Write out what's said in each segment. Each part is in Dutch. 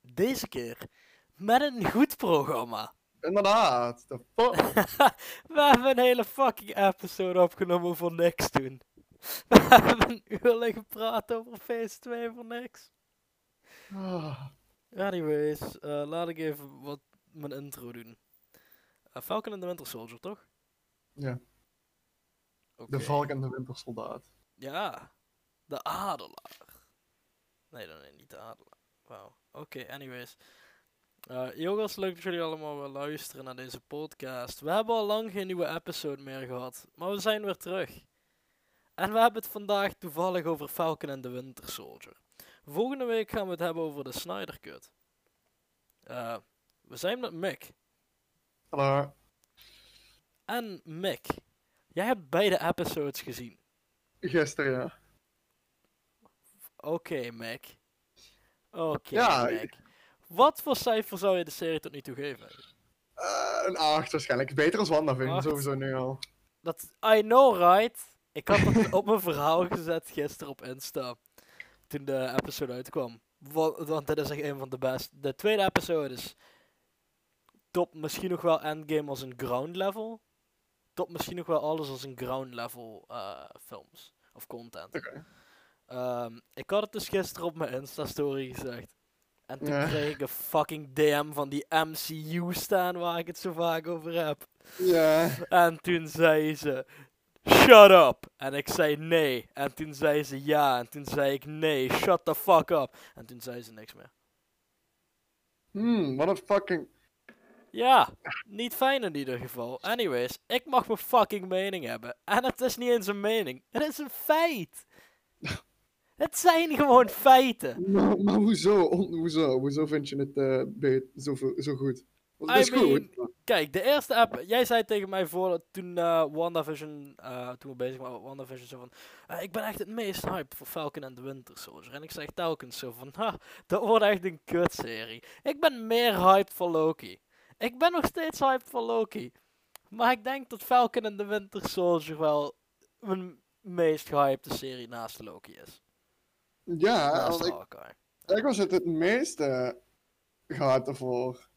Deze keer met een goed programma. Inderdaad. De fuck? We hebben een hele fucking episode opgenomen voor niks toen. We hebben een uur lang gepraat over Phase 2 voor niks. Ah, Anyways, eh, laat ik even wat mijn intro doen. Eh, Falcon en de Winter Soldier, toch? Ja. Oké. De valk en de wintersoldaat. Ja, de adelaar. Nee, dan nee, niet de adelaar. Wauw. Oké, anyways. Eh, jongens, leuk dat jullie allemaal weer luisteren naar deze podcast. We hebben al lang geen nieuwe episode meer gehad, maar we zijn weer terug. En we hebben het vandaag toevallig over Falcon en de Winter Soldier. Volgende week gaan we het hebben over de Snyder Cut. Eh, we zijn met Mick. Hallo. En Mick, jij hebt beide episodes gezien. Gisteren, ja. Oké, Mac. Oké, Ja, Mac. Wat voor cijfer zou je de serie tot nu toe geven? Eh, een 8 waarschijnlijk. Beter als WandaVision, Acht. sowieso nu al. Dat, I know, right? Ik had het op mijn verhaal gezet gisteren op Insta. Toen de episode uitkwam. Wa- Want dit is echt een van de best. De tweede episode is top misschien nog wel Endgame als een ground level. Top misschien nog wel alles als een ground level eh, films. Of content. Oké. Ehm, ik had het dus gisteren op mijn Insta-story gezegd. En toen Ja. kreeg ik een fucking DM van die MCU staan waar ik het zo vaak over heb. Ja. En toen zei ze: Shut up! En ik zei nee. En toen zei ze ja. En toen zei ik nee. Shut the fuck up. En toen zei ze niks meer. Hmm, wat een fucking... Ja, niet fijn in ieder geval. Anyways, ik mag mijn fucking mening hebben. En het is niet eens een mening, het is een feit. Het zijn gewoon feiten. Maar, maar hoezo? On- hoezo? Hoezo vind je het eh, be- zo, veel- zo goed? Want I het is mean- goed. maar- Kijk, de eerste app. Jij zei tegen mij voor toen eh, WandaVision. eh, toen we bezig waren met WandaVision. Zo van. eh, ik ben echt het meest hype voor Falcon en de Winter Soldier. En ik zeg telkens zo van. Ha, dat wordt echt een kutserie. Ik ben meer hype voor Loki. Ik ben nog steeds hype voor Loki. Maar ik denk dat Falcon en de Winter Soldier wel. mijn meest gehypte serie naast Loki is. Ja, naast want ik, Hawkeye. ik was het het meeste gehyped ervoor.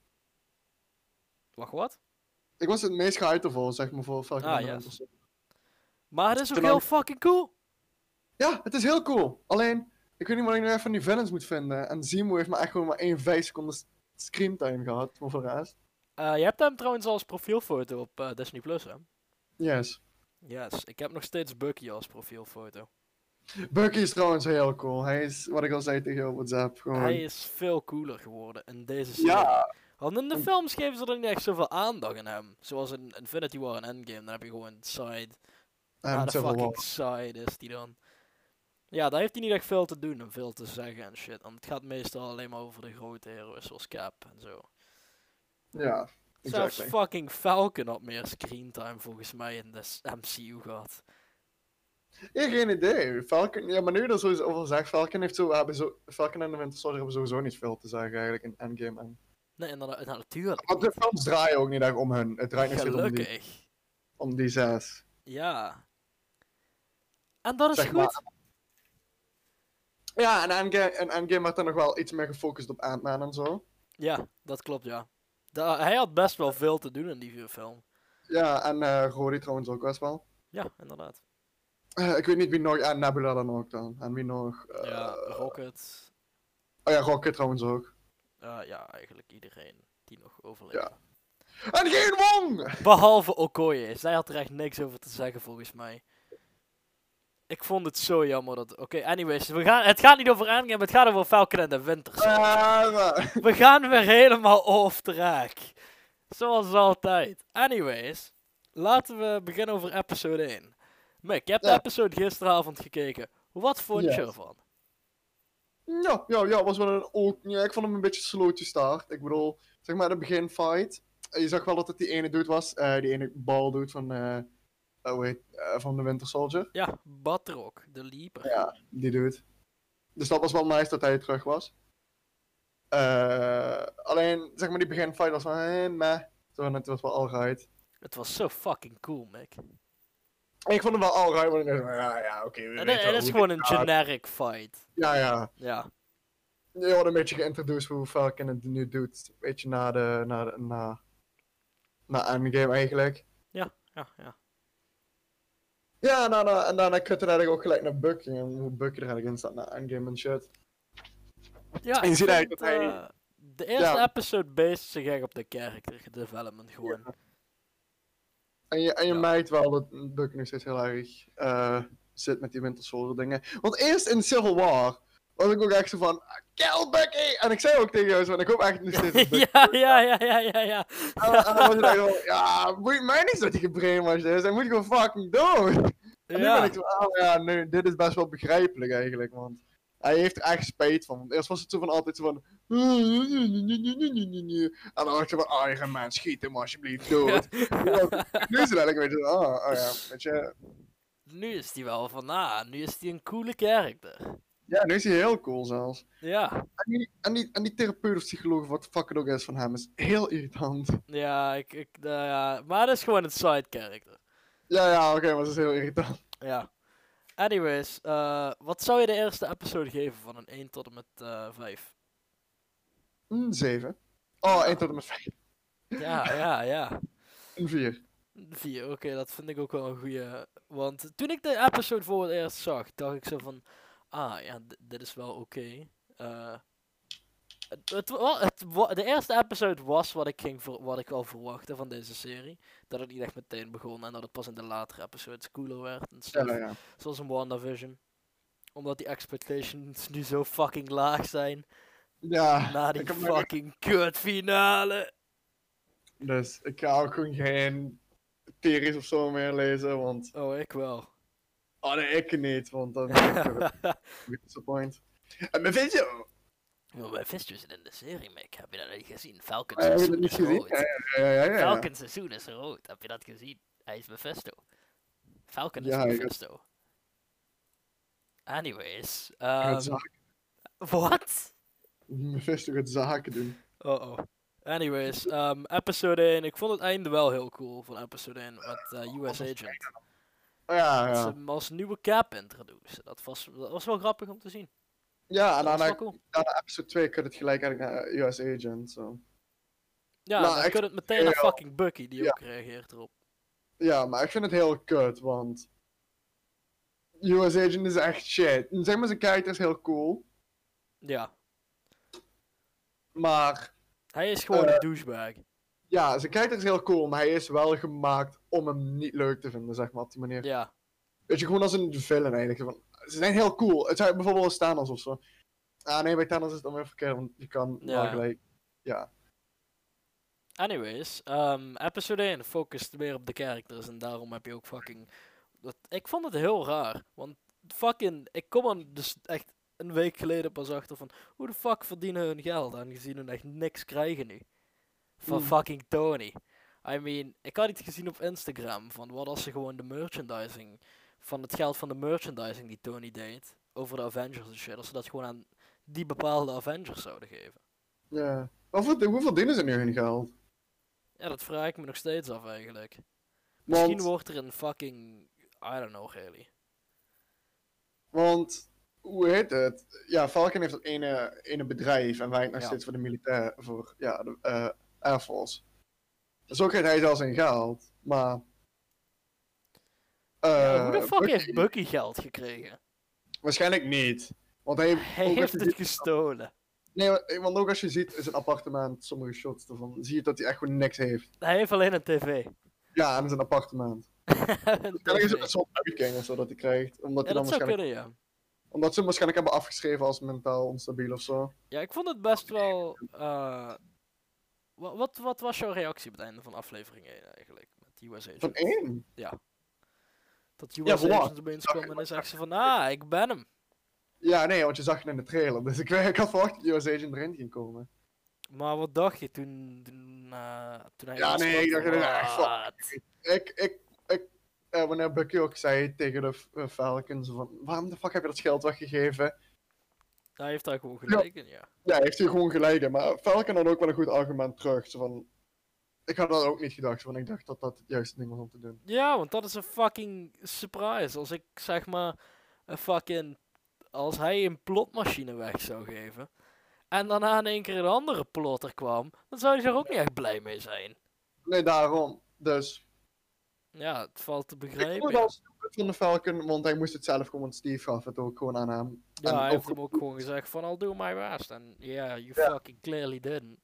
Wacht, wat? Ik was het meest gehyped ervoor, zeg maar, voor Falcon Ah, en de ja. Wintersoldaat. Maar het is ook Toen heel ook- fucking cool. Ja, het is heel cool. Alleen, ik weet niet wat ik nu even van die villains moet vinden. En Zemo heeft maar echt gewoon maar één 5 seconden s- screentime gehad, maar voor de rest. Eh, je hebt hem trouwens als profielfoto op eh, Disney Plus, hè? Yes. Yes, ik heb nog steeds Bucky als profielfoto. Bucky is trouwens heel cool. Hij is, wat ik al zei tegen jou op WhatsApp, gewoon... Hij is veel cooler geworden in deze serie. Ja, Want in de en- films geven ze er niet echt zoveel aandacht aan hem. Zoals in Infinity War en Endgame, dan heb je gewoon side. en Waar de Civil Ah, fucking War. side is die dan? Ja, daar heeft hij niet echt veel te doen en veel te zeggen en shit. Want het gaat meestal alleen maar over de grote heroes zoals Cap en zo. Ja, Zelfs exactly. fucking Falcon had meer screentime volgens mij in de s- MCU gehad. Ja, geen idee. Falcon, ja, maar nu je er sowieso over zegt, Falcon, heeft zo, hebben zo, Falcon en de Winter Soldier hebben sowieso niet veel te zeggen eigenlijk in Endgame. En... Nee, inderdaad, nou, natuurlijk. Want de niet. films draaien ook niet echt om hun. Het draait nog steeds om die, Gelukkig. om die zes. Ja. En dat is Zeg goed. maar. Ja, en Endgame, en Endgame werd dan nog wel iets meer gefocust op Ant-Man en zo. Ja, dat klopt, ja. Da- hij had best wel veel te doen in die film. Ja, en eh Rory trouwens ook best wel. Ja, inderdaad. Eh, ik weet niet wie nog, en Nebula dan ook dan. En wie nog. eh, ja, Rocket. Oh ja, Rocket trouwens ook. eh, ja, eigenlijk iedereen die nog overleefde. Ja. En geen Wong! Behalve Okoye. Zij had er echt niks over te zeggen, volgens mij. Ik vond het zo jammer dat... Oké, anyways. We gaan... Het gaat niet over Endgame, het gaat over Falcon en de Winters. Ah, maar- We gaan weer helemaal off track. Zoals altijd. Anyways, laten we beginnen over episode 1. Mick, je hebt de Ja. episode gisteravond gekeken. Wat vond Yes. je ervan? Ja, ja, ja, was wel een ook. Ja, ik vond hem een beetje slow to start. Ik bedoel, zeg maar de beginfight. eh, Je zag wel dat het die ene dude was, eh, die ene bal dude van, eh, eh, hoe heet- eh, van de Winter Soldier. Ja, Batroc, de Leaper. Ja, die dude. Dus dat was wel nice dat hij terug was. Eh, alleen, zeg maar, die beginfight was van, eh, meh. Zo, en het was wel alright. Het was zo fucking cool, Mick. Ik vond hem wel alright, want ik dacht, ja, ja, oké. we Het weten het wel is hoe gewoon dit een gaat. generic fight. Ja, ja. Ja, Je wordt een beetje geïntroduceerd hoe Falcon het nu doet. Een beetje na de, na, de, na, na Endgame eigenlijk. Ja, ja. Ja, en daarna, en daarna kutte eigenlijk ook gelijk naar Bucky. En hoe Bucky er eigenlijk in staat na Endgame en shit. ja En je ik ziet eigenlijk vind, dat hij- eh, de eerste Ja. episode based zich echt op de character development gewoon. En je, en je Ja. merkt wel dat Bucky nog steeds heel erg eh, zit met die Winter Soldier dingen. Want eerst in Civil War was ik ook echt zo van... Kill Bucky! En ik zei ook tegen jou zo, en ik hoop echt nog steeds dat Bucky... ja, ja, ja, ja, ja, ja. En, en dan was je echt zo, ja, boeit mij niet dat hij gebrainwashed is. Hij dus moet gewoon fucking dood. En nu Ja. ben ik zo, oh ja, nu, dit is best wel begrijpelijk eigenlijk, want hij heeft er echt spijt van. Want eerst was het zo van altijd zo van... En dan was ik zo van, oh, je gaat man, schiet hem alsjeblieft dood. nu is het eigenlijk een beetje zo, oh, oh ja, weet je... Nu is die wel van, ah, nu is die een coole character. Ja, nu is hij heel cool zelfs. Ja, En die, en die, en die therapeut of psycholoog, wat de fuck het ook is van hem, is heel irritant. ja, ik, ik, nou ja, maar dat is gewoon een side character. Ja, ja, oké, maar ze is heel irritant. Ja. Anyways, eh, wat zou je de eerste episode geven van een 1 tot en met eh 5? Een 7. Oh, 1 tot en met 5. Ja, ja, ja. Een 4. 4, oké, dat vind ik ook wel een goede. Want toen ik de episode voor het eerst zag, dacht ik zo van, ah ja, d- dit is wel oké. Eh, het, het, wa- het wa- de eerste episode was wat ik, ging ver- wat ik al verwachtte van deze serie. Dat het niet echt meteen begon en dat het pas in de latere episodes cooler werd. En stuff. Ja, ja. Zoals in WandaVision. Omdat die expectations nu zo fucking laag zijn. Ja. Na die ik heb nog- fucking kut finale. Dus ik ga ook gewoon geen theories of zo meer lezen, want... Oh, ik wel. Oh nee, ik niet, want dan ben ik weer weer disappoint. Eh, En mijn video! Maar mijn visjes in de serie, Mick. Heb je dat niet gezien? Falcon Eh, Heb je dat seizoen niet is gezien? rood. Ja, ja, ja, ja, ja. ja. Falcon seizoen is rood. Heb je dat gezien? Hij is Mephisto. Falcon is Ja, ik- Mephisto. Anyways. Gaat ehm zaken- Wat? Mephisto gaat zaken doen. Oh oh. Anyways, ehm, episode 1. Ik vond het einde wel heel cool van episode 1 met eh, US Agent. Oh, ja, Dat ze ja. hem als nieuwe cap introduceren. Dat was, dat was wel grappig om te zien. Ja, Dat en was wel daarna, cool. daarna episode 2 kun je het gelijk eigenlijk naar eh, US Agent, zo. Ja, nou, dan ik kun je het meteen naar heel- fucking Bucky, die Ja. ook reageert erop. Ja, maar ik vind het heel kut, want... US Agent is echt shit. Zeg maar, zijn karakter is heel cool, Ja, maar... hij is gewoon Eh, een douchebag. Ja, zijn karakter is heel cool, maar hij is wel gemaakt om hem niet leuk te vinden, zeg maar, op die manier. Ja, Weet je, gewoon als een villain eigenlijk. Van, ze zijn heel cool. Het zijn bijvoorbeeld als Thanos of zo. Ah nee, bij Thanos is het dan weer verkeerd, want je kan wel Ja. gelijk... Ja. anyways, ehm, episode 1 focust meer op de characters en daarom heb je ook fucking... Dat, ik vond het heel raar, want fucking... Ik kom er dus echt een week geleden pas achter van... Hoe de fuck verdienen hun geld, aangezien hun echt niks krijgen nu. Van Mm. fucking Tony. I mean, ik had iets gezien op Instagram van wat als ze gewoon de merchandising... Van het geld van de merchandising die Tony deed over de Avengers en shit. Als ze dat gewoon aan die bepaalde Avengers zouden geven. ja. Maar voor- hoeveel verdienen ze nu hun geld? Ja, dat vraag ik me nog steeds af eigenlijk. Misschien Want, wordt er een fucking. I don't know really. want, hoe heet het? Ja, Falcon heeft dat ene, ene bedrijf en werkt nog Ja. steeds voor de militair, voor ja, de eh, Air Force. Dus ook krijgt hij zelfs zijn geld, maar... Ja, hoe eh, de fuck Bucky- heeft Bucky geld gekregen? Waarschijnlijk niet. Want hij, Hij ook als heeft je het gestolen. Nee, maar- want ook als je ziet in zijn appartement, sommige shots ervan, zie je dat hij echt gewoon niks heeft. Hij heeft alleen een tv. Ja, in zijn appartement. Een Waarschijnlijk is TV. het een soort uitkering of zo dat hij krijgt. Omdat, Ja, hij dat dan zou waarschijnlijk, kunnen, ja. omdat ze hem waarschijnlijk hebben afgeschreven als mentaal onstabiel of zo. Ja, ik vond het best wel. eh, wa- wat, wat was jouw reactie op het einde van aflevering 1 eigenlijk? Met US Agent. Van één. Dat US Ja, voilà. Agent opeens kwam en dan zegt ze van, ah, ik ben hem. Ja, nee, want je zag het in de trailer. Dus ik, ik had verwacht dat US Agent erin ging komen. Maar wat dacht je toen, toen, eh, toen hij... Ja, dat nee, sprak ik dacht van, inderdaad, echt, fuck. "What?" Ik, ik, ik, eh, wanneer Bucky ook zei tegen de eh, Falcons van, waarom de fuck heb je dat geld weggegeven? Hij heeft daar gewoon gelijk in, ja. Ja, heeft hij gewoon gelijk. in, Maar Falcon had ook wel een goed argument terug. Zo van, ik had dat ook niet gedacht, want ik dacht dat dat het juiste ding was om te doen. Ja, want dat is een fucking surprise. Als ik zeg maar een fucking. Als hij een plotmachine weg zou geven. en daarna in één keer een andere plotter kwam, dan zou je er ook niet echt blij mee zijn. Nee, daarom. Dus. Ja, het valt te Ik begrijpen. vond ja. dat stupid van de Falcon, want hij moest het zelf doen, want Steve gaf het ook gewoon aan hem. Ja, en hij heeft ook- hem ook gewoon gezegd van I'll do my best. En yeah, you Ja. fucking clearly didn't.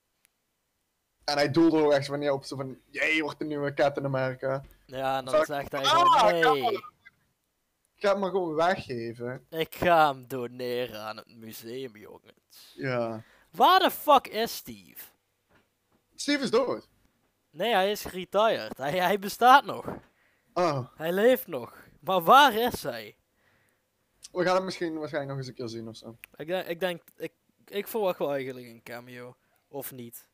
En hij doelde er ook echt zo van, ja, op zo van, jij wordt de nieuwe Captain America. Ja, en dan Fuck. zegt hij Ah, van nee, ja. Ik ga het maar gewoon weggeven. ik ga hem doneren aan het museum, jongens. Ja. Waar de fuck is Steve? Steve is dood. Nee, hij is retired. Hij, hij bestaat nog. Oh, Hij leeft nog. Maar waar is hij? we gaan hem misschien waarschijnlijk nog eens een keer zien of zo. Ik denk, ik, denk ik, ik verwacht wel eigenlijk een cameo. Of niet.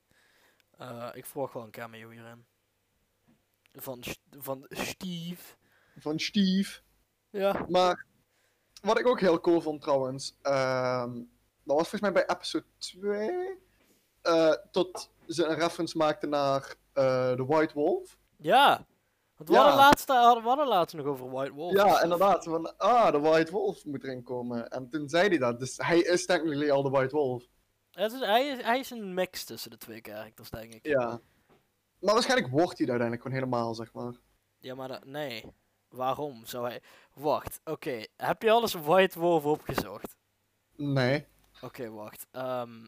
Eh, ik verwacht wel een cameo hierin. Van, S- van Steve. Van Steve. Ja. Maar wat ik ook heel cool vond trouwens, ehm, dat was volgens mij bij episode 2, eh, tot ze een reference maakte naar eh The White Wolf. Ja. Want we, Ja. Hadden laatst, we hadden laatst nog over White Wolf. ja, inderdaad. Ze Van, ah, The White Wolf moet erin komen. En toen zei hij dat, dus hij is technically al The White Wolf. Het is, hij, is, hij is een mix tussen de twee characters, denk ik. Ja. Maar waarschijnlijk wordt hij dat uiteindelijk gewoon helemaal, zeg maar. Ja, maar dat, nee. Waarom zou hij... Wacht, oké. Heb je alles White Wolf opgezocht? Nee. Oké, wacht. Ehm,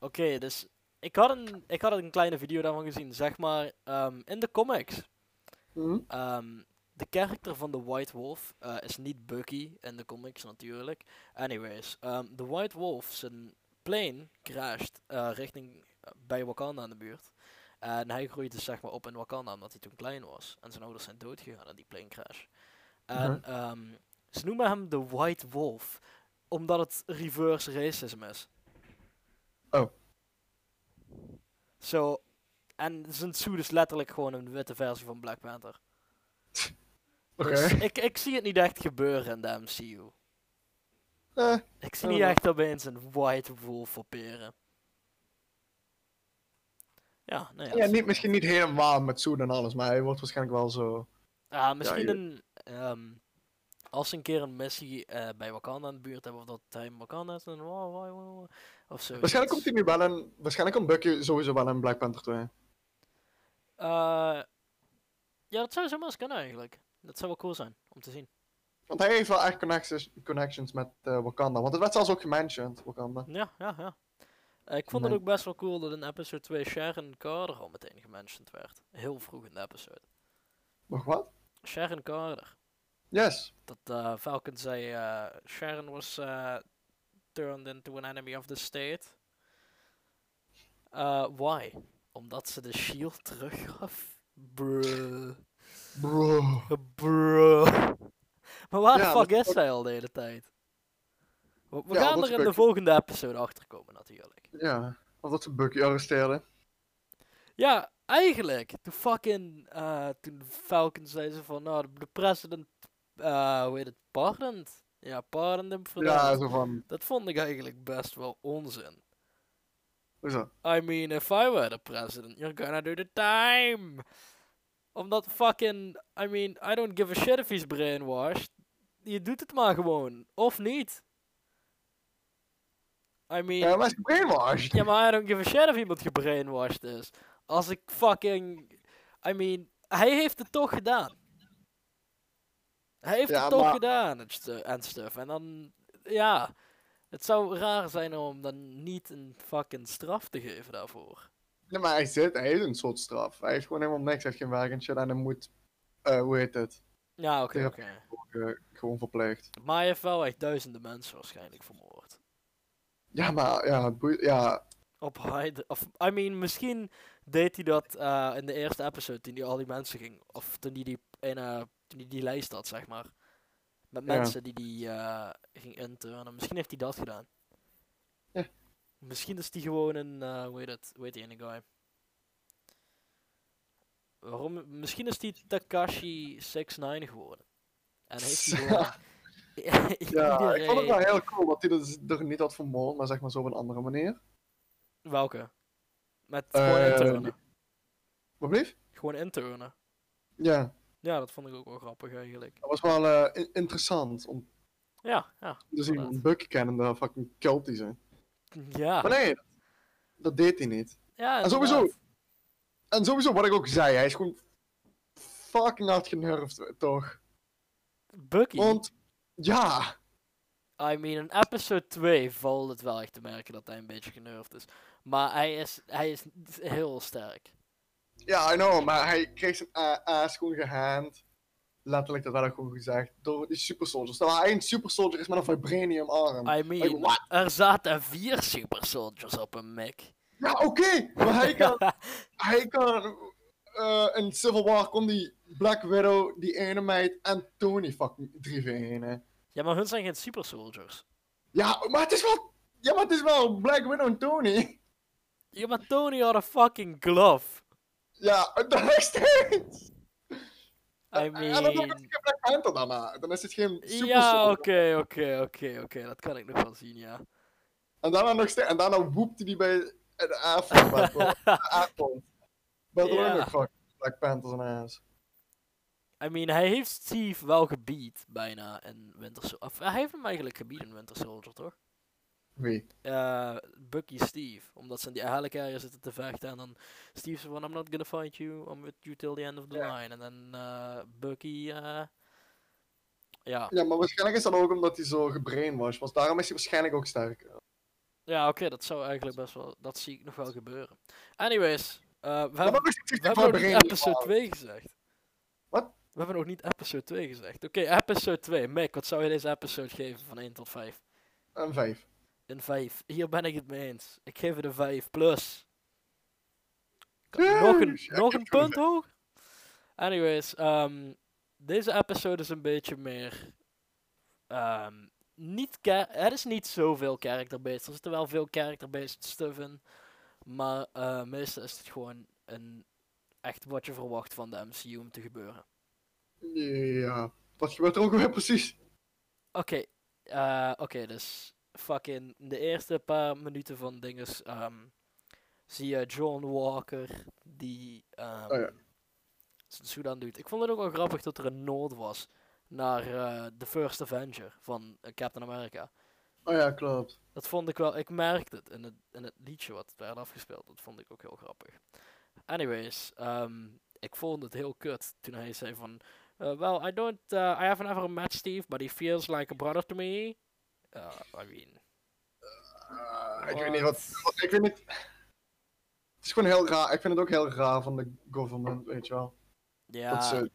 Oké, dus ik had, een, ik had een kleine video daarvan gezien. Zeg maar, ehm, in de comics. Hm? ehm, de karakter van de White Wolf eh, is niet Bucky in de comics natuurlijk. Anyways, ehm, de White Wolf, zijn plane crasht eh, richting eh, bij Wakanda in de buurt. En hij groeide dus zeg maar op in Wakanda omdat hij toen klein was. En zijn ouders zijn dood gegaan aan die plane crash. En ehm, ze noemen hem de White Wolf omdat het reverse racism is. Oh. Zo, en zijn suit is letterlijk gewoon een witte versie van Black Panther. Oké. Dus ik, ik zie het niet echt gebeuren in de MCU. Eh, Ik zie Oh, niet dat- echt opeens een White Wolf operen. Ja, nee. ja, niet, misschien niet helemaal met Zoen en alles, maar hij wordt waarschijnlijk wel zo. Ah, misschien je- een... ehm, als ze een keer een missie eh, bij Wakanda in de buurt hebben, of dat hij in Wakanda is, dan... Wow, wow, wow, wow, of zo. Waarschijnlijk komt hij nu wel een. Waarschijnlijk komt Bucky sowieso wel een Black Panther 2. Eh, ja, dat zou zomaar eens kunnen eigenlijk. Dat zou wel cool zijn om te zien. Want hij heeft wel echt connecties, connections met eh, Wakanda. Want het werd zelfs ook gementioned, Wakanda. Ja, ja, ja. Eh, ik vond het Nee. ook best wel cool dat in episode 2 Sharon Carter al meteen gementiond werd. Heel vroeg in de episode. Nog wat? Sharon Carter. Yes. Dat eh, Falcon zei, eh, Sharon was eh, turned into an enemy of the state. Eh, why? Omdat ze de shield teruggaf? Bruh. Bro. Bruh. Maar waar Ja, de dat fuck is is hij al de hele tijd? We, we Ja, gaan dat er in de stuk. volgende episode achter komen natuurlijk. Ja. Of dat ze Bucky arresteerden. Ja, eigenlijk. Toen fucking, eh, toen Falcon zei ze van, nou, de president, eh, hoe heet het, pardoned? Ja, pardoned hem Ja, zo van. Dat vond ik eigenlijk best wel onzin. Hoezo? I mean, if I were the president, you're gonna do the time. Omdat fucking, I mean, I don't give a shit if he's brainwashed. Je doet het maar gewoon, of niet. I mean, Ja, Eh, maar ze brainwashed. ja, maar I don't give a shit of iemand gebrainwashed is. Als ik fucking. I mean, hij heeft het toch gedaan. Hij heeft Ja, het toch maar- gedaan en stu- en stuff. En dan, ja. Het zou raar zijn om dan niet een fucking straf te geven daarvoor. Nee, maar hij zit, hij heeft een soort straf. Hij heeft gewoon helemaal niks, hij heeft geen werk en shit. En hij moet, eh, hoe heet het? Ja, oké, Ja. oké. Ook, eh, gewoon verpleegd. Maar hij heeft wel echt duizenden mensen waarschijnlijk vermoord. Ja, maar ja, het boeit- ja. Op Hyde. Of, I mean, misschien deed hij dat eh, in de eerste episode toen hij al die mensen ging. Of toen hij die, in, eh, toen hij die lijst had, zeg maar. Met Ja. mensen die die eh, ging internen. Misschien heeft hij dat gedaan. Ja. Misschien is hij gewoon een. eh hoe heet het? Hoe heet die ene guy? Waarom? Misschien is hij Takashi 69 geworden. En heeft hij gewoon. ja ik vond het wel iedereen- heel cool dat hij dus er niet had vermoord, maar zeg maar zo op een andere manier. Welke? Met Eh, gewoon internen. Wat blieft? Gewoon internen. Ja, Ja, dat vond ik ook wel grappig eigenlijk. dat was wel eh, in- interessant om Ja, ja. te zien. Inderdaad. Bucky kennen, de fucking cult die zijn. Ja. Maar nee, dat deed hij niet. ja En sowieso, Ah. inderdaad. en sowieso wat ik ook zei, hij is gewoon fucking hard genurfd, toch? Bucky. Want, ja, I mean, in episode 2 valt het wel echt te merken dat hij een beetje genervd is. Maar hij is, hij is d- heel sterk. ja, I know, maar hij kreeg zijn a- aas gewoon gehaand. Letterlijk, dat werd ook gewoon gezegd, door die super soldiers. Terwijl hij een super soldier is met een vibranium arm. I Like, mean, what? er zaten vier super soldiers op een mech. Ja, oké, maar hij kan, hij kan eh, in Civil War kon die Black Widow, die ene meid en Tony fucking 3 v 1 ja, maar hun zijn geen super soldiers. Ja, maar het is wel, ja, maar het is wel Black Widow en Tony. Ja, maar Tony had een fucking glove. Ja, dat is steeds. I En dan is mean... het geen Black Panther daarna. Dan is het geen super Ja, soldier. oké, oké, oké, oké. Dat kan ik nog wel zien, ja. En daarna nog steeds, en daarna woepte die bij de avond. Bij de avond. Bij de Ja. ook nog fucking Black Panther zijn ass. I mean, hij heeft Steve wel gebied, bijna, in Winter Soldier. Of hij heeft hem eigenlijk gebied in Winter Soldier, toch? Wie? eh, Bucky Steve. Omdat ze in die helicarrier zitten te vechten. En dan Steve zegt van, I'm not gonna fight you. I'm with you till the end of the Ja. line. En dan eh, Bucky... eh, ja, Ja, maar waarschijnlijk is dat ook omdat hij zo gebrainwashed was. Daarom is hij waarschijnlijk ook sterk. ja oké, dat zou eigenlijk best wel... Dat zie ik nog wel gebeuren. Anyways, eh, we Maar hebben, dat is iets we hebben van nog niet episode brainwashed. 2 gezegd. Wat? We hebben nog niet episode 2 gezegd. Oké, episode 2. Mick, wat zou je deze episode geven van 1 tot 5? Een vijf. Een 5. Hier ben ik het mee eens. Ik geef het een 5 plus. Kan- Yes, nog een, ja, nog ik een heb punt hoger. Anyways, ehm, deze episode is een beetje meer. ehm, niet cha- het is niet zoveel character-based. Er zitten wel veel character-based stuff in. Maar eh, meestal is het gewoon een, echt wat je verwacht van de MCU om te gebeuren. Ja. Wat gebeurt er ook weer precies? Oké, eh, oké, dus fucking de eerste paar minuten van dinges ehm, zie je John Walker die ehm Oh ja. zijn Sudan doet. Ik vond het ook wel grappig dat er een nood was naar eh, The First Avenger van eh, Captain America. Oh ja, klopt. Dat vond ik wel, ik merkte het in het, in het liedje wat werd afgespeeld. Dat vond ik ook heel grappig. Anyways, ehm, ik vond het heel kut toen hij zei van, eh, well, I don't, eh, I haven't ever met Steve, but he feels like a brother to me. Eh, I mean, Ah, ik weet niet wat. Ik weet niet. Het is gewoon heel raar. Ik vind het ook heel raar van de government, weet je wel. Dat Ja, ze,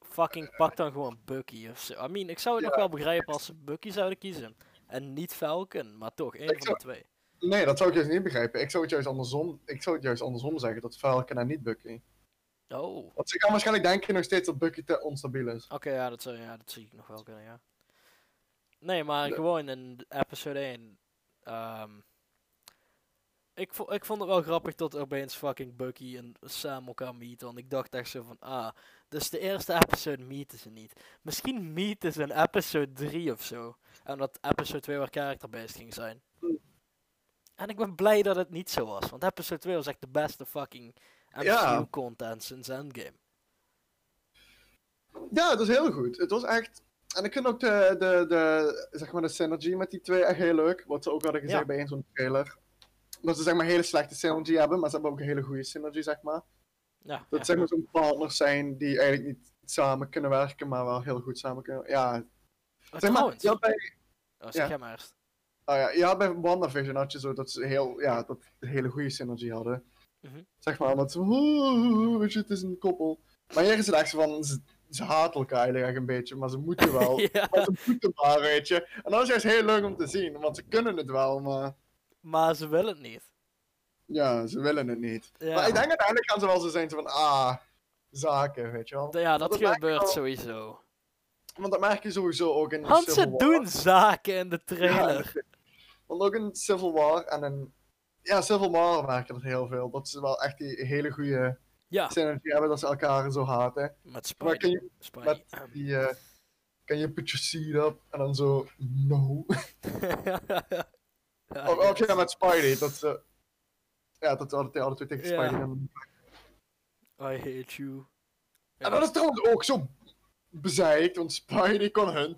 fucking pak dan gewoon Bucky of zo. I mean, ik zou het nog wel begrijpen als ze Bucky zouden kiezen. En niet Falcon, maar toch, één Ik van zou- de twee. nee, dat zou ik juist niet begrijpen. Ik zou het juist andersom, ik zou het juist andersom zeggen, dat Falcon en niet Bucky. Oh, oké, Want ze gaan waarschijnlijk denken nog steeds dat Bucky te onstabiel is. ja, dat zou, ja, dat zie ik nog wel kunnen, ja. Nee, maar Nee. gewoon in episode 1. ik, vo ik vond het wel grappig dat opeens fucking Bucky en Sam elkaar meeten. Want ik dacht echt zo van, ah, dus de eerste episode meeten ze niet. Misschien meeten ze in episode 3 of zo. En dat episode 2 waar character-based ging zijn. Mm. En ik ben blij dat het niet zo was. Want episode 2 was echt de beste fucking Ja. MCU-content sinds Endgame. Ja, het was heel goed. Het was echt. En ik vind ook de, de, de, zeg maar de synergy met die twee echt heel leuk. Wat ze ook hadden gezegd Ja. bij een zo'n trailer. Dat ze zeg maar hele slechte synergy hebben, maar ze hebben ook een hele goede synergy, zeg maar. Ja, Dat ja. zeg maar zo'n partners zijn die eigenlijk niet samen kunnen werken, maar wel heel goed samen kunnen. Ja, Maar zeg maar, trouwens, je had bij, oh, zeg ja. jij maar eerst. oh ja, je had bij WandaVision had je zo dat ze heel, ja, dat een hele goede synergie hadden. Mhm. Zeg maar, omdat ze, weet je, het is een koppel. Maar hier is het echt zo van, ze, ze haten elkaar eigenlijk echt een beetje, maar ze moeten wel. ja. Maar ze moeten maar, weet je. En dat is juist heel leuk om te zien, want ze kunnen het wel, maar Maar ze willen het niet. ja, ze willen het niet. Ja, Maar ik denk uiteindelijk gaan ze wel zo zijn zo van, ah, zaken, weet je wel. D- ja, dat dat lijkt gebeurt wel- sowieso. Want dat merk je sowieso ook in Want Civil ze War. doen zaken in de Ja, trailer. Want ook in Civil War en in... Ja, Civil War merk je dat heel veel. Dat ze wel echt die hele goede Ja, synergie hebben dat ze elkaar zo haten. met Maar Spidey. kan je, Spidey. die, eh can you put your seat up? En dan zo, no. Ja, Of, of Ah, yes. ja, met Spidey. Dat ze... Ja, dat ze alle, alle twee tegen Ja. Spidey gaan. I hate you. En dat is trouwens ook zo bezeikt, want Spidey kon hun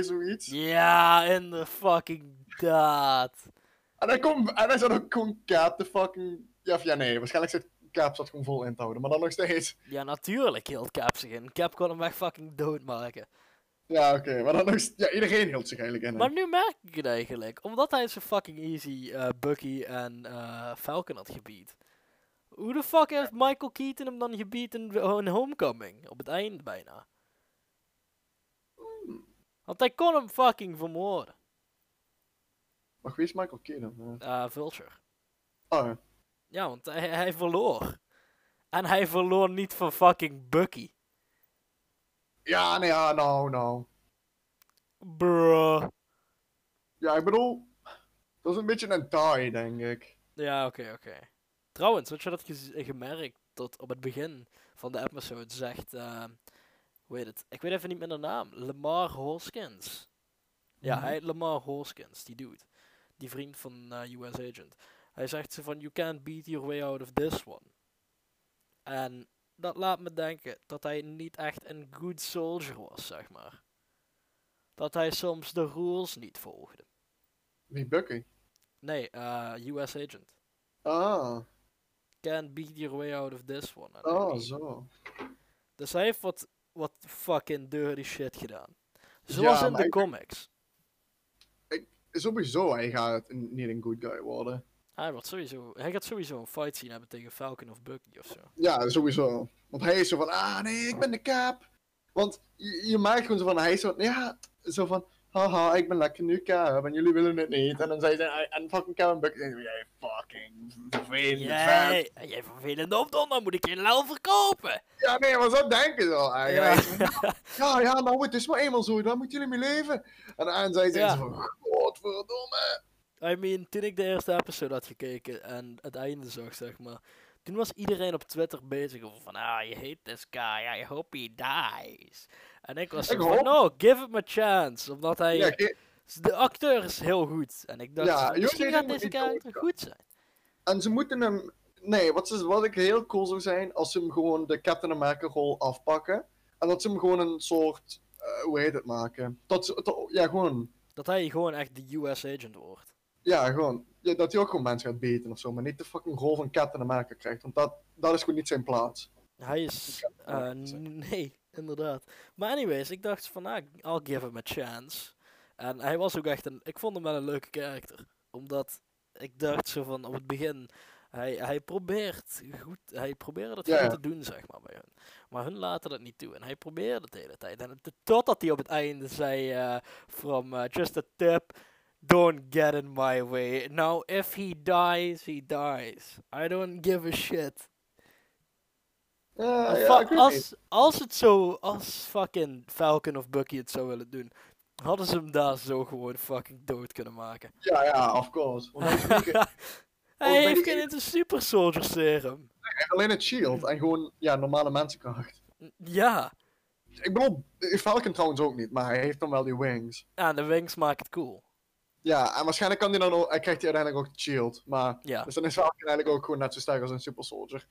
2-1-2 zoiets. Ja, in de fucking daad. En hij, komt en hij zat ook gewoon Cap te fucking... Ja, of ja, nee. Waarschijnlijk zit Cap zat gewoon vol in te houden. Maar dan nog steeds. Ja, natuurlijk hield Cap zich in. Cap kon hem echt fucking doodmaken. Ja, oké. maar dan nog... st- Ja, iedereen hield zich eigenlijk in. hè. Maar nu merk ik het eigenlijk. Omdat hij zo fucking easy eh, Bucky en eh, Falcon had gebied. Hoe de fuck heeft Michael Keaton hem dan gebied in, in Homecoming? Op het eind bijna. Want hij kon hem fucking vermoorden. Maar wie is Michael Keaton? Eh, Eh Vulture. Ah, ja. Ja, want hij, hij verloor. En hij verloor niet van fucking Bucky. ja, nee, ja, nou, nou. Bruh. Ja, ik bedoel... Dat is een beetje een tie, denk ik. Ja, oké, oké. Trouwens, had je dat gez- eh, gemerkt tot op het begin van de episode zegt, eh, hoe heet het? Ik weet even niet meer de naam. Lamar Hoskins. Ja, Mhm. hij Lamar Hoskins, die dude. Die vriend van eh, US Agent. Hij zegt ze van, you can't beat your way out of this one. En dat laat me denken dat hij niet echt een good soldier was, zeg maar. Dat hij soms de rules niet volgde. Wie Bucky? Nee, eh, US Agent. Ah, can't beat your way out of this one. En ah, hij- zo. Dus hij heeft wat, wat fucking dirty shit gedaan. Ja, Zoals in maar de ik- comics. Sowieso, hij gaat een- niet een good guy worden. Hij, wordt sowieso, hij gaat sowieso een fight zien hebben tegen Falcon of Bucky of zo. Ja, sowieso. Want hij is zo van, ah nee, ik ben de kaap. Want je, je maakt gewoon zo van, hij is zo van, ja, zo van, haha, ik ben lekker nu kaap en jullie willen het niet. En dan zei ze, en fucking kaap en Bucky, en jij fucking vervelende vent. Jij, jij vervelende opdonder, moet ik je lel verkopen! Ja, nee, maar zo denken ze al Ja. eigenlijk. Ja, ja, nou, het is maar eenmaal zo, daar moeten jullie mee leven. En dan zei ze Ja. zo van, godverdomme. I mean, toen ik de eerste episode had gekeken en het einde zag, zeg maar. Toen was iedereen op Twitter bezig over van, ah, je hate this guy, I hope he dies. En ik was Ik zo van, hoop- no, give him a chance. Omdat hij Ja, oké. Dus De acteur is heel goed. En ik dacht, Ja, van, joh, misschien nee, gaat dat moet deze niet karakter doodgaan. goed zijn. En ze moeten hem. Nee, wat, ze, wat ik heel cool zou zijn, als ze hem gewoon de Captain America rol afpakken. En dat ze hem gewoon een soort. eh, hoe heet het maken? Dat ze, to- ja, gewoon. Dat hij gewoon echt de US agent wordt. Ja, gewoon. Ja, dat hij ook gewoon mensen gaat beten of zo. Maar niet de fucking rol van Captain America krijgt. Want dat, dat is gewoon niet zijn plaats. Hij is... kan het eh, niet zeggen. nee, inderdaad. Maar anyways, ik dacht van, ah, I'll give him a chance. En hij was ook echt een... Ik vond hem wel een leuke karakter. Omdat ik dacht zo van, op het begin... Hij, hij probeert goed... Hij probeerde het Ja, goed ja. te doen, zeg maar, bij hun. Maar hun laten dat niet toe. En hij probeerde het de hele tijd. En het- totdat hij op het einde zei... eh, from uh, just a tip... Don't get in my way. Now, if he dies, he dies. I don't give a shit. Ja, Fa- Eh, ja, ik weet niet. als, als het zo, als fucking Falcon of Bucky het zou willen doen, hadden ze hem daar zo gewoon fucking dood kunnen maken. ja, ja, of course. Want hij heeft niet- Hij ben heeft ik- geen het is een super soldier serum. alleen het shield en gewoon ja, normale mensenkracht. N- Ja, Ik bedoel, eh, Falcon trouwens ook niet, maar hij heeft dan wel die wings. en de wings maken het cool. Ja, en waarschijnlijk kan hij dan ook, hij krijgt hij uiteindelijk ook het shield. Maar Ja, Dus dan is Falcon eigenlijk ook gewoon net zo sterk als een Super Soldier.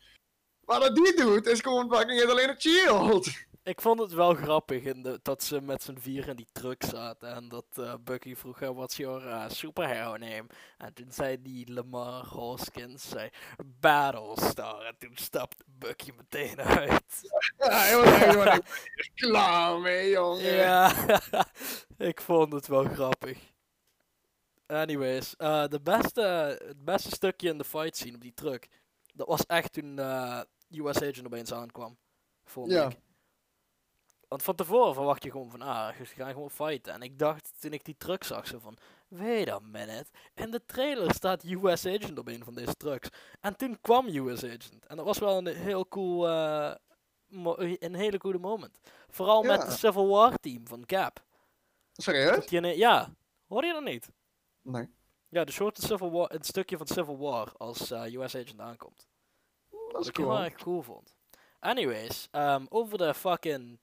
Maar dat die doet, is gewoon fucking is alleen een shield. ik vond het wel grappig in de, dat ze met z'n vier in die truck zaten en dat eh, Bucky vroeg hem, what's your eh, superhero name? En toen zei die Lamar Hoskins, zei Battlestar. En toen stapte Bucky meteen uit. Ja, hij was echt gewoon echt klaar mee, jongen. Ja, ik vond het wel grappig. Anyways, eh, de beste, het beste stukje in de fight scene op die truck, dat was echt toen eh, US Agent opeens aankwam. Vond Ja. ik. Want van tevoren verwacht je gewoon van, ah, ze gaan gewoon fighten. En ik dacht toen ik die truck zag, zo van, wait a minute. In de trailer staat US Agent op een van deze trucks. En toen kwam US Agent. En dat was wel een heel cool, eh, mo- een hele coole moment. Vooral met Ja. het Civil War team van Cap. Serieus? Dat die ene- ja, hoor je dat niet? Nee. Ja, de short Civil War, een stukje van Civil War als eh, US Agent aankomt. Dat Wat is ik heel cool. erg cool vond. Anyways, ehm, over de fucking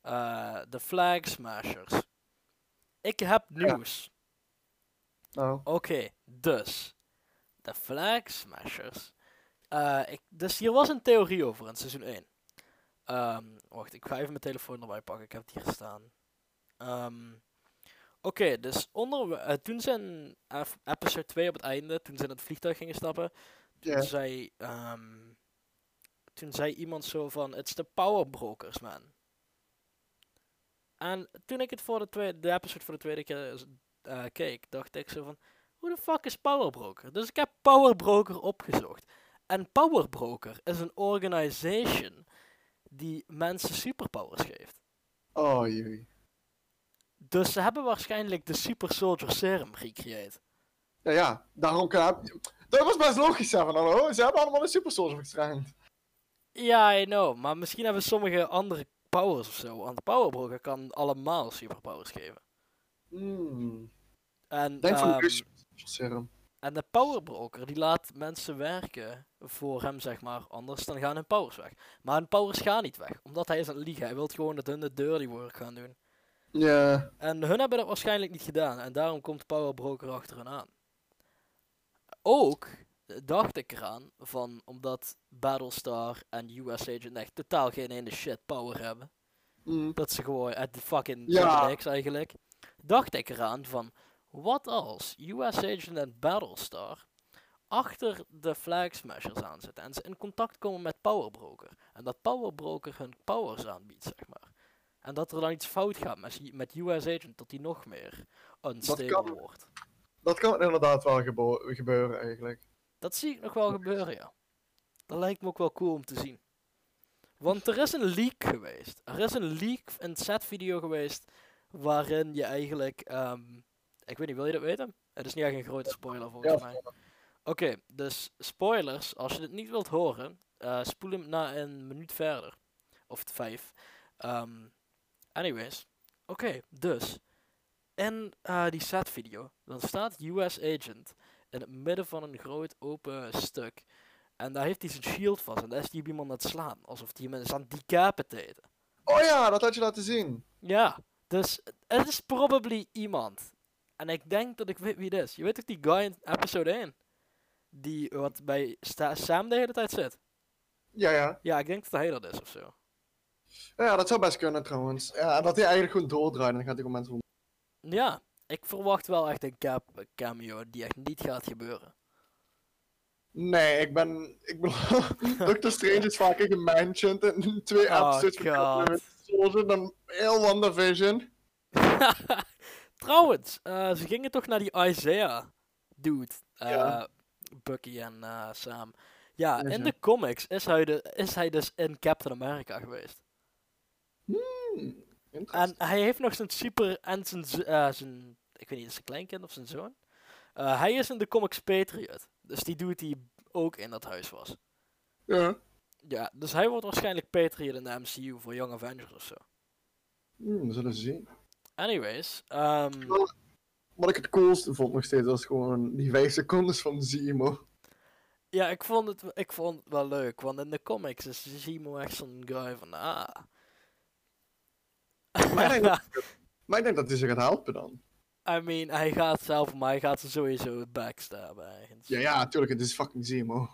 eh, de flag smashers. Ik heb Ja. nieuws. Nou, Oké, dus. De Flag Smashers. Eh, ik, dus hier was een theorie over in seizoen 1. Ehm, wacht, ik ga even mijn telefoon erbij pakken. Ik heb het hier staan. Ehm, Oké, dus onder, eh, toen ze in ef- episode 2 op het einde, toen ze in het vliegtuig gingen stappen, toen Ja. zei, ehm, toen zei iemand zo van, it's the power brokers, man. En toen ik het voor de tweede, de episode voor de tweede keer z- eh, keek, dacht ik zo van, hoe de fuck is power broker? Dus ik heb power broker opgezocht. En power broker is een organization die mensen superpowers geeft. Oh jee. Dus ze hebben waarschijnlijk de Super Soldier Serum gecreëerd. Ja, ja, daarom kan Dat was best logisch, hè, van hallo. Ze hebben allemaal een super soldier getraind. Ja, I know. Maar misschien hebben sommige andere powers of zo. Want Power Broker kan allemaal superpowers geven. Hmm. En, Denk van ehm, de super serum. en de Power Broker die laat mensen werken voor hem, zeg maar. Anders dan gaan hun powers weg. Maar hun powers gaan niet weg. Omdat hij is aan het liegen. Hij wil gewoon dat hun de dirty work gaan doen. Ja. En hun hebben dat waarschijnlijk niet gedaan. En daarom komt Power Broker achter hen aan. Ook eh, dacht ik eraan van omdat Battlestar en US Agent echt totaal geen ene shit power hebben. Hmm. Dat ze gewoon uit de fucking Ja. ja. niks eigenlijk. Dacht ik eraan van wat als US Agent en Battlestar achter de flag smashers aan zitten en ze in contact komen met Power Broker. En dat Power Broker hun powers aanbiedt, zeg maar. En dat er dan iets fout gaat met, met US Agent, dat die nog meer unstable kan. wordt. Dat kan inderdaad wel gebo- gebeuren, eigenlijk. Dat zie ik nog wel gebeuren, ja. Dat lijkt me ook wel cool om te zien. Want er is een leak geweest. Er is een leak, een setvideo geweest, waarin je eigenlijk... ehm, ik weet niet, wil je dat weten? Het is niet echt een grote spoiler volgens Ja, mij. Oké, dus spoilers. Als je dit niet wilt horen, eh, spoel hem na een minuut verder. Of vijf. Ehm, anyways. Oké, dus. In eh, die setvideo, dan staat US Agent in het midden van een groot open stuk. En daar heeft hij zijn shield vast. En daar is die iemand aan het slaan. Alsof die iemand is aan het decapitaten. Oh ja, dat had je laten zien. Ja, dus het is probably iemand. En ik denk dat ik weet wie het is. Je weet toch die guy in episode 1? Die wat bij Sta- Sam de hele tijd zit. Ja, ja. Ja, ik denk dat hij dat is of zo. Ja, dat zou best kunnen, trouwens. Ja, en dat hij eigenlijk gewoon doordraait en dan gaat hij gewoon mensen om. Ja, ik verwacht wel echt een cap- cameo die echt niet gaat gebeuren. Nee, ik ben... Ik ben Doctor Strange is vaker gementiond in twee Oh, episodes van God. Captain Soldier dan heel WandaVision. Trouwens, eh, ze gingen toch naar die Isaiah dude. eh, Ja. Bucky en eh, Sam. Ja, Ja, in zo. de comics is hij, de, is hij dus in Captain America geweest. Hmm, En interessant. hij heeft nog zijn super en zijn, z- eh, zijn ik weet niet, is zijn kleinkind of zijn zoon. Eh, hij is in de comics Patriot. Dus die dude die ook in dat huis was. Ja. Ja, dus hij wordt waarschijnlijk Patriot in de MCU voor Young Avengers of zo. Hmm, we zullen zien. Anyways, ehm, Wat ik het coolste vond nog steeds was gewoon die 5 secondes van Zemo. Ja, ik vond, het, ik vond het wel leuk, want in de comics is Zemo echt zo'n guy van, ah. Maar ik denk dat, maar ik denk dat hij zich gaat helpen dan. I mean, hij gaat zelf, maar hij gaat ze sowieso backstabben ergens. Ja, ja, tuurlijk, het is fucking Zemo.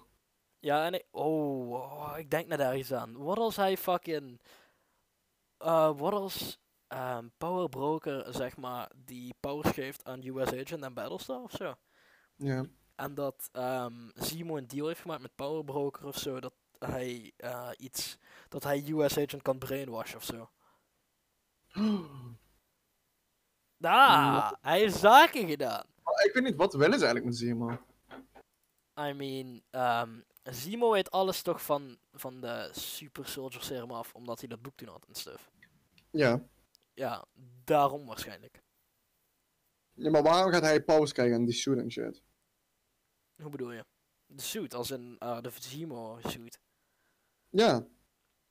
Ja, en ik, oh, oh, ik denk net ergens aan. Wat als hij fucking, eh, wat als ehm, Power Broker, zeg maar, die powers geeft aan US Agent en Battlestar of zo? Ja. En dat ehm Zemo een deal heeft gemaakt met Power Broker of zo, dat hij eh, iets, dat hij US Agent kan brainwashen of zo. Ah, hij heeft zaken gedaan. Maar ik weet niet, wat willen ze eigenlijk met Zemo? I mean, ehm Zemo weet alles toch van, van de Super Soldier Serum af, omdat hij dat boek toen had en stuff. Ja. Ja, daarom waarschijnlijk. ja, maar waarom gaat hij pauze krijgen aan die shooting shit? Hoe bedoel je? De suit, als in eh, de Zemo suit. Ja,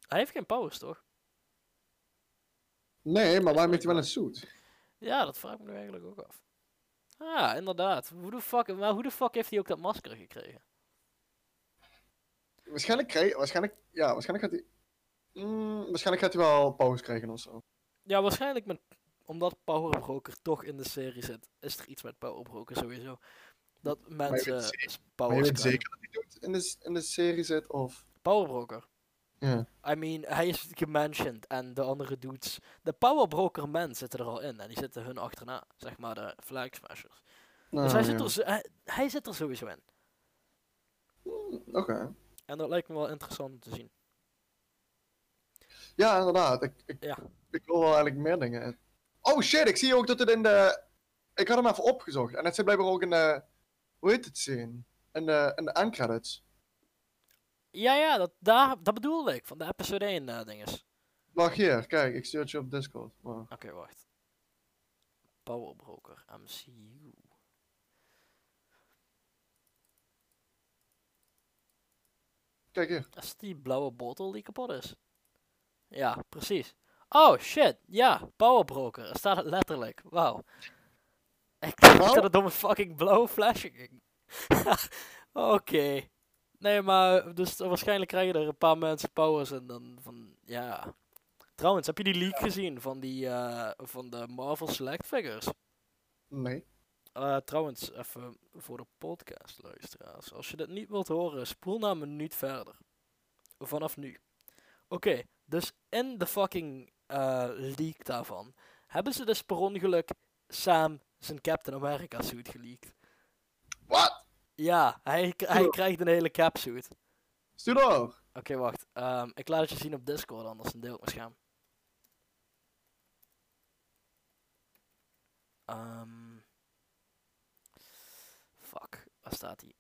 Hij heeft geen powers, toch? nee, maar waarom heeft hij wel een suit? Ja, dat vraag ik me nu eigenlijk ook af. Ah, inderdaad. Hoe de fuck, maar hoe de fuck heeft hij ook dat masker gekregen? Waarschijnlijk krijg waarschijnlijk, ja, waarschijnlijk gaat hij... Mm, waarschijnlijk gaat hij wel pauze krijgen of zo. Ja, waarschijnlijk met, omdat Power Broker toch in de serie zit, is er iets met Power Broker sowieso. Dat weet mensen zeker- s- Maar je powers weet krijgen. zeker dat hij doet in de, in de serie zit of... Power Broker. Ja. I mean, hij is gementioned en de andere dudes. De Power Broker men zitten er al in en die zitten hun achterna, zeg maar de Flag Smashers. Nou, dus hij, ja. zit er, zo- hij, hij zit er sowieso in. Hmm, Oké. En dat lijkt me wel interessant om te zien. Ja, inderdaad. Ik, ik, Ja. ik wil wel eigenlijk meer dingen. Oh shit, ik zie ook dat het in de. Ik had hem even opgezocht. En het zit blijkbaar ook in de. Hoe heet het zien? In de, in de endcredits. Ja, ja, dat, daar, dat bedoelde ik, van de episode 1 eh dinges. Wacht hier, kijk, ik stuur het je op Discord. Wow. Oké, wacht. Power Broker, MCU. Kijk hier. Dat is die blauwe botel die kapot is. Ja, precies. Oh shit, ja, Power Broker, daar staat het letterlijk. Wauw. Ik dacht Nou? dat het om een fucking blauwe flesje ging. Oké. Nee, maar dus waarschijnlijk krijgen er een paar mensen powers en dan van, ja. Trouwens, heb je die leak gezien van, die, eh, van de Marvel Select Figures? Nee. Eh, trouwens, even voor de podcastluisteraars. Als je dit niet wilt horen, spoel naar een minuut verder. Vanaf nu. Oké, dus in de fucking eh, leak daarvan hebben ze dus per ongeluk Sam zijn Captain America suit geleakt. Wat? Ja, hij, k- hij Ja. krijgt een hele cap suit. Oké, Stuur door. wacht. Ehm, ik laat het je zien op Discord, anders dan deel ik mijn scherm. Ehm. fuck, waar staat hij?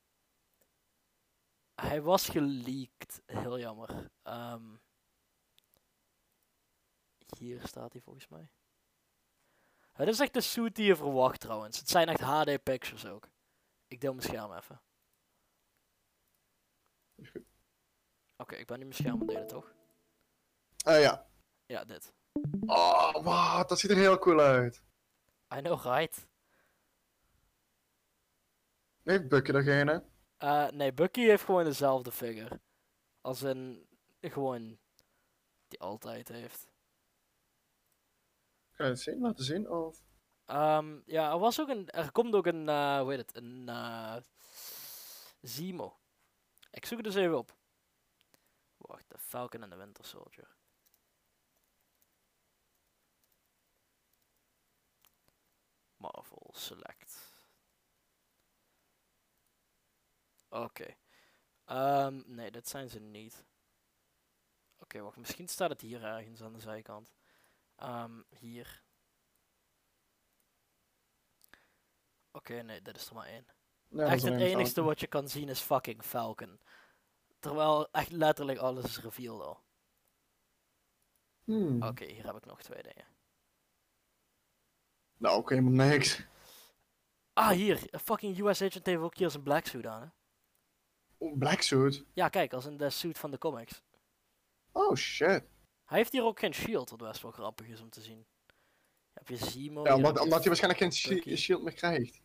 Hij was geleakt, heel jammer. Ehm, hier staat hij volgens mij. Het is echt de suit die je verwacht trouwens. Het zijn echt HD pictures ook. Ik deel mijn scherm even. Is Oké, goed. ik ben nu mijn scherm aan het delen, toch? Eh ja. Ja, dit. Oh, wat, dat ziet er heel cool uit. I know, right? Heeft Bucky degene? Eh, nee, Bucky heeft gewoon dezelfde figure. Als in, gewoon, die altijd heeft. Ga je het zien? Laten zien? Of... Ehm, ja, er was ook een, er komt ook een, eh hoe heet het, een eh Zemo. Ik zoek het dus even op. Wacht, de Falcon en de Winter Soldier. Marvel Select. Oké. Ehm, nee, dat zijn ze niet. Oké, wacht. Misschien staat het hier ergens aan de zijkant. Ehm, hier. Oké, nee, dit is er maar één. Ja, dat echt is er het een enigste fout. wat je kan zien is fucking Falcon. Terwijl echt letterlijk alles is revealed al. Hmm. Oké, hier heb ik nog twee dingen. Nou, oké, maar niks. Ah, hier. eh, Fucking US Agent heeft ook hier zijn black suit aan, hè? Oh, Black suit. Ja, kijk, als in de suit van de comics. Oh shit. Hij heeft hier ook geen shield, wat best wel grappig is om te zien. Heb je Zemo? Ja, hier omdat, heb omdat je waarschijnlijk geen fucking shi- Bucky. shield meer krijgt.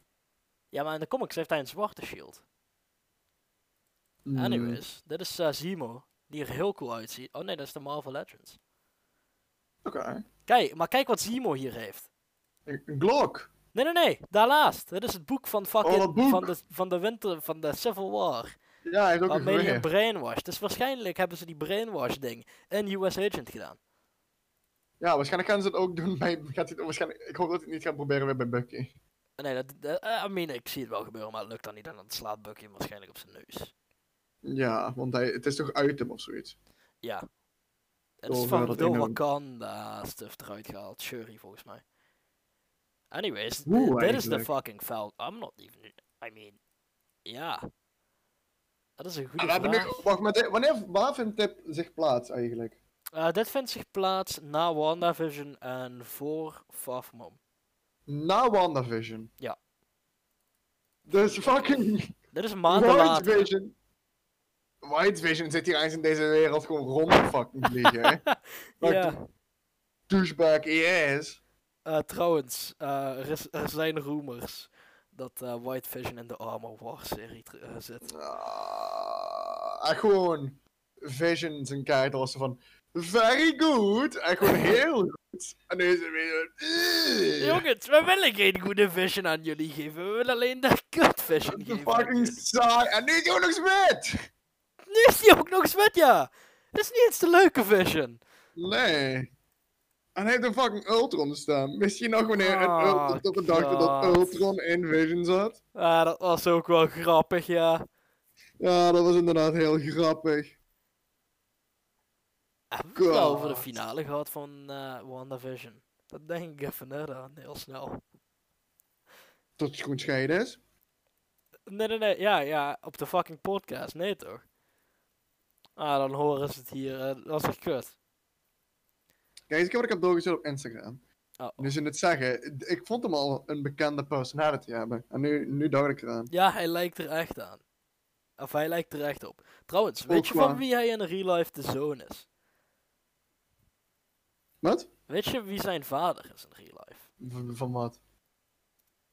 Ja, maar in de comics heeft hij een zwarte shield. Hmm. Ah, Anyways, dit is eh, Zemo, die er heel cool uitziet. Oh nee, dat is de Marvel Legends. Oké. Kijk, maar kijk wat Zemo hier heeft. Een een Glock. Nee, nee, nee, daarnaast. Dit is het boek van fucking... Oh, dat boek. Van, de, van de winter, van de Civil War. Ja, hij heeft ook een Waarmee hij een geweer. brainwash. Dus waarschijnlijk hebben ze die brainwash ding in US Agent gedaan. Ja, waarschijnlijk gaan ze het ook doen bij... Gaat hij, het- waarschijnlijk, ik hoop dat hij het niet gaat proberen weer bij Bucky. Nee, dat, dat- eh, I mean, ik zie het wel gebeuren, maar het lukt dan niet. En dan slaat Bucky hem waarschijnlijk op zijn neus. Ja, want hij, het is toch uit hem of zoiets. Ja. En Oh, het is ja, van dat door inhoud. Wakanda stuff eruit gehaald. Shuri, volgens mij. Anyways, d- Oeh, dit is de eigenlijk. fucking Falcon. I'm not even... I mean... Ja. Dat is een goede Ah, we hebben nu, vraag. wacht, maar dit- wanneer, waar vindt dit zich plaats eigenlijk? Eh, dit vindt zich plaats na WandaVision en voor Far From Home. Na WandaVision. Ja. Dus fucking Dit is een maand White later. Vision. White Vision zit hier eens in deze wereld gewoon rond te fucking vliegen, hè? Fuck Ja. the Douchebag E yes. Eh, trouwens, eh, er, is- er zijn rumors dat eh, White Vision in de Armor Wars serie ter- eh, zit. Ah, en gewoon Vision zijn kaart was van very good en gewoon heel goed. En nu is het weer eh, Jongens, we willen geen goede Vision aan jullie geven. We willen alleen de kut Vision de geven. aan fucking jullie. saai. En nu is hij ook nog zwet. Nu is die ook nog zwet, ja! Dit is niet eens de leuke Vision. Nee. En hij heeft een fucking Ultron staan. Misschien nog wanneer een Ah, Ultron tot de dag dat God. Ultron in Vision zat. Ah, dat was ook wel grappig, ja. Ja, dat was inderdaad heel grappig. Hebben we het wel over de God. finale gehad van eh WandaVision? Dat denk ik even net aan, heel snel. Tot het schoen scheiden is. Nee, nee, nee, ja, ja, op de fucking podcast, nee toch? Ah, dan horen ze het hier, eh, dat was echt kut. Kijk eens ik heb wat ik heb doorgezet op Instagram. Oh, oh. Nu ze het zeggen, d- ik vond hem al een bekende personality hebben. En nu, nu dacht ik eraan. Ja, hij lijkt er echt aan. Of hij lijkt er echt op. Trouwens, weet Ook je van waar. wie hij in real life de zoon is? Wat? Weet je wie zijn vader is in real life? V- van wat?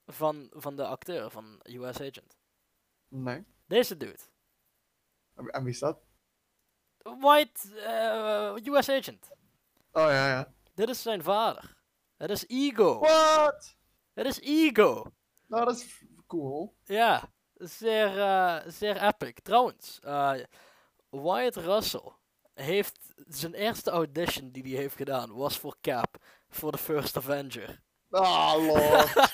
Van, van de acteur, van US Agent. Nee. Deze dude. En en wie is dat? White eh, US Agent. Oh ja, ja. Dit is zijn vader. Het is Ego. Wat? Het is Ego. Nou, dat is f- cool. Ja, zeer, eh, zeer epic. Trouwens, eh, Wyatt Russell heeft zijn eerste audition die hij heeft gedaan was voor Cap, voor de First Avenger. Ah, lol.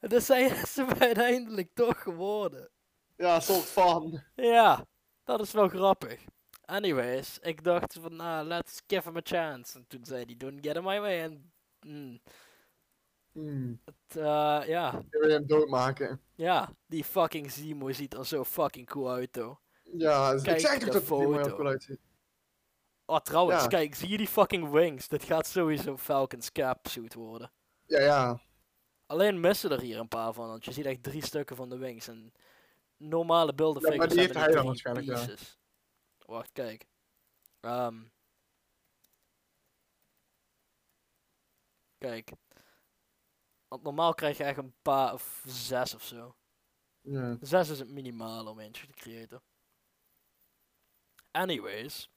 dus hij is hem uiteindelijk toch geworden. ja, soort van. Ja, dat is wel grappig. Anyways, ik dacht van, ah, let's give him a chance. En toen zei hij, don't get in my way. En mm, Hmm. t- eh, ja, Je wil hem doodmaken. ja, die fucking Zemo ziet er zo fucking cool uit, hoor. Ja, dus Kijk ik zeg toch de dat het niet meer foto. heel cool uitziet. Oh, trouwens, Ja. kijk, zie je die fucking wings? Dit gaat sowieso Falcons cap suit worden. Ja, ja. Alleen missen er hier een paar van, want je ziet echt drie stukken van de wings. En normale beelden Ja, maar die heeft hij dan waarschijnlijk, ja. pieces. Wacht, kijk. Ehm. kijk. Want normaal krijg je echt een paar of zes of zo. ja. Zes is het minimaal om eentje te creëren. Anyways.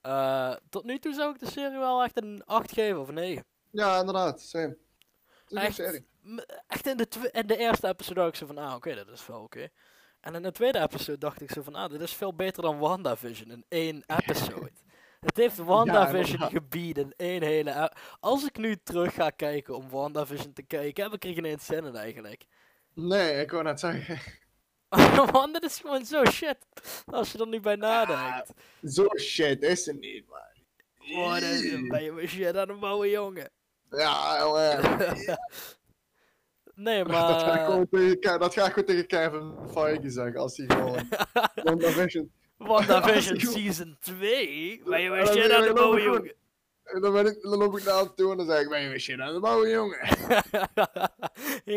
eh, tot nu toe zou ik de serie wel echt een 8 geven of een 9. Ja, inderdaad. Same. Het is een Echt? serie. M- Echt in de, twe- in de eerste episode dacht ik zo van, ah oké, dat is wel oké. En in de tweede episode dacht ik zo van, ah dit is veel beter dan WandaVision in één episode. Het heeft WandaVision inderdaad. gebied in één hele... e- Als ik nu terug ga kijken om WandaVision te kijken, heb ik er geen eens zin in eigenlijk. Nee, ik wou net zeggen. Want dit is gewoon zo shit, als je er nu bij nadenkt. Zo shit is het niet, man. Oh, dat is een Eeuw. beetje mijn shit aan een bouwen jongen. Ja, heel erg. nee, Dat ga, ik maar. gewoon tegen, Ke- dat ga ik gewoon tegen Kevin Feige zeggen als hij gewoon. WandaVision. WandaVision Als je- Season 2. Ben je mijn Ja, shit dat aan is de wel bouwen goed. jongen? En dan, ben ik, dan loop ik naar hem toe en dan zeg ik: Ben je weer shit aan de bouwen, jongen?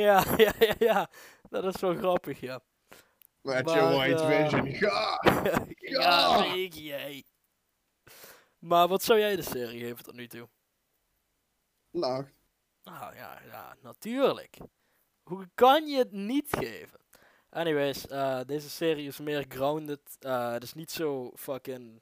ja, ja, ja, ja. Dat is wel grappig, ja. Met Maar, je white eh, vision. Ja! ja, Ja. weet jij. Maar wat zou jij de serie geven tot nu toe? Nou, Nou ja, ja, natuurlijk. Hoe kan je het niet geven? Anyways, eh, deze serie is meer grounded. Eh, het is niet zo fucking.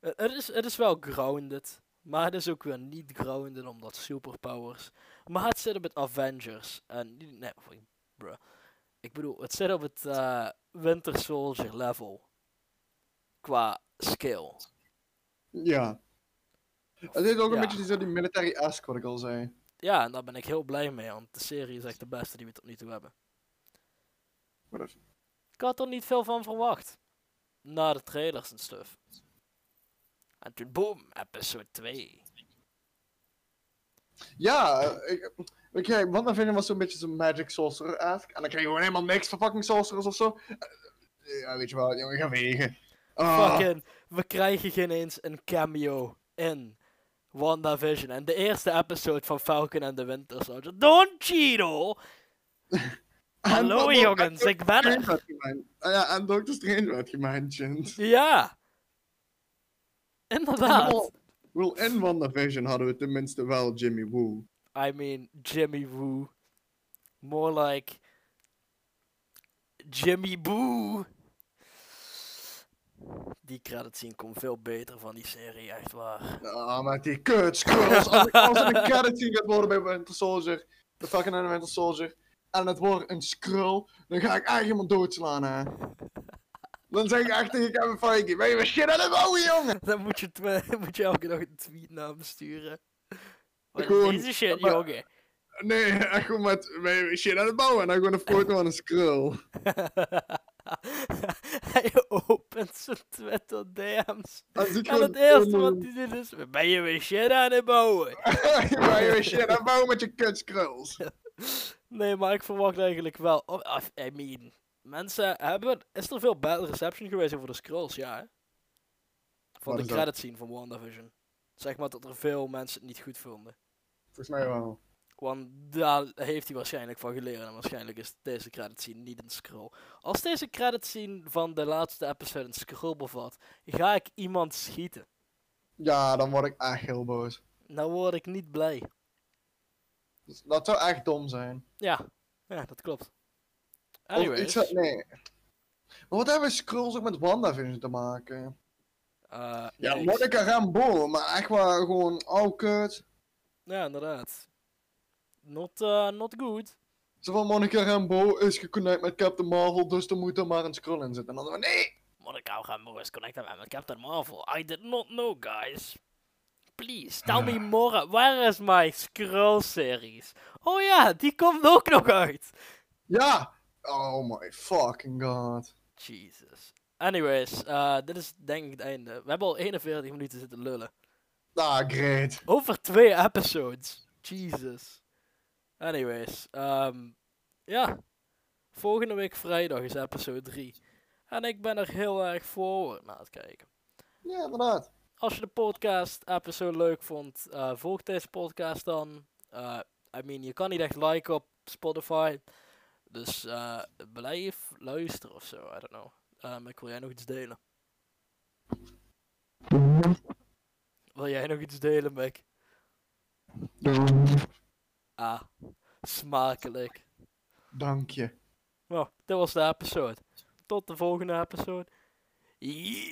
Het- Het is, het is wel grounded. Maar het is ook weer niet grounded omdat superpowers. Maar het zit op het Avengers. En, niet- nee, fuck, bruh. Ik bedoel, het zit op het eh, Winter Soldier level. Qua skill. ja. Het heeft ook Ja. een beetje die, zo die military ask wat ik al zei. Ja, en daar ben ik heel blij mee, want de serie is echt de beste die we tot nu toe hebben. Maar dat- Ik had er niet veel van verwacht. Na de trailers en stuff. En toen boom, episode 2. Ja, eh, ik, ik, kijk, WandaVision was zo'n beetje zo'n magic sorcerer ask. En dan kreeg je gewoon helemaal niks van fucking sorcerers of zo. Eh, Ja, weet je wel, jongen, ga wegen. Ah, Fucking, we krijgen geen eens een cameo in WandaVision. En de eerste episode van Falcon and the Winter Soldier. Don Cheadle! en Hallo Doctor- jongens, en ik ben Doctor Strange er. werd gemeint. Ah Ja, en Doctor Strange werd gementiond. Ja! En Inderdaad. wel- Wel, in WandaVision hadden we tenminste wel Jimmy Woo. I mean, Jimmy Woo. More like... Jimmy Boo! Die credits zien komt veel beter van die serie, echt waar. Ah, maar die kuts, kuts. Als ik- als het een credit zien gaat worden bij Winter Soldier, de fucking en Winter Soldier, en het wordt een skrull, dan ga ik echt iemand doodslaan, hè. Dan Dan zeg ik echt tegen Kevin Feige, ben je weer shit aan het bouwen, jongen? Dan moet je, twe- moet je elke dag een tweet naar hem sturen. Wat is Gewoon, deze shit, maar- jongen? Nee, echt gewoon met, ben je weer shit aan het bouwen? En dan gewoon een foto van een scroll. hij opent zijn Twitter DM's. Dan zie ik En het eerste wat hij doet is: Ben je weer shit aan het bouwen? ben je weer shit aan het bouwen met je kutscrolls? Nee, maar ik verwacht eigenlijk wel. Oh, I- I mean, mensen hebben. Is er veel bad reception geweest over de scrolls? Ja, hè? Van Wat de is dat? credits zien van WandaVision. Zeg maar dat er veel mensen het niet goed vonden. Volgens mij wel. Want daar heeft hij waarschijnlijk van geleerd. En waarschijnlijk is deze credit scene niet een scroll. Als deze credit scene van de laatste episode een scroll bevat, ga ik iemand schieten. Ja, dan word ik echt heel boos. Nou word ik niet blij. Dus Dat zou echt dom zijn. Ja, ja dat Oh, klopt. Of Anyways. iets wat- nee. Maar wat hebben scrolls ook met WandaVision te maken? eh, Ja, niks. Monica Rambeau, maar echt waar gewoon, oh kut. Ja, inderdaad. Not, eh, not good. Zo van Monica Rambeau is geconnect met Captain Marvel, dus er moet er maar een scroll in zitten. En dan van, nee! Monica Rambeau is connected met Captain Marvel. I did not know, guys. Please, tell me more. Where is my scroll series? Oh ja, die komt ook nog uit. Ja! Oh my fucking god. Jesus. Anyways, eh, dit is denk ik het einde. We hebben al 41 minuten zitten lullen. Ah, great. Over twee episodes. Jesus. Anyways, ehm, ja. Volgende week vrijdag is episode 3. En ik ben er heel erg voor naar het kijken. Ja, inderdaad. Als je de podcast episode leuk vond, eh, volg deze podcast dan. Eh, I mean, je kan niet echt liken op Spotify. Dus eh, blijf luisteren of zo. I don't know. Ehm, ik wil jij nog iets delen. Wil jij nog iets delen, Mick? Ah, smakelijk. Dank je. Nou, dit was de episode. Tot de volgende episode. Yeah.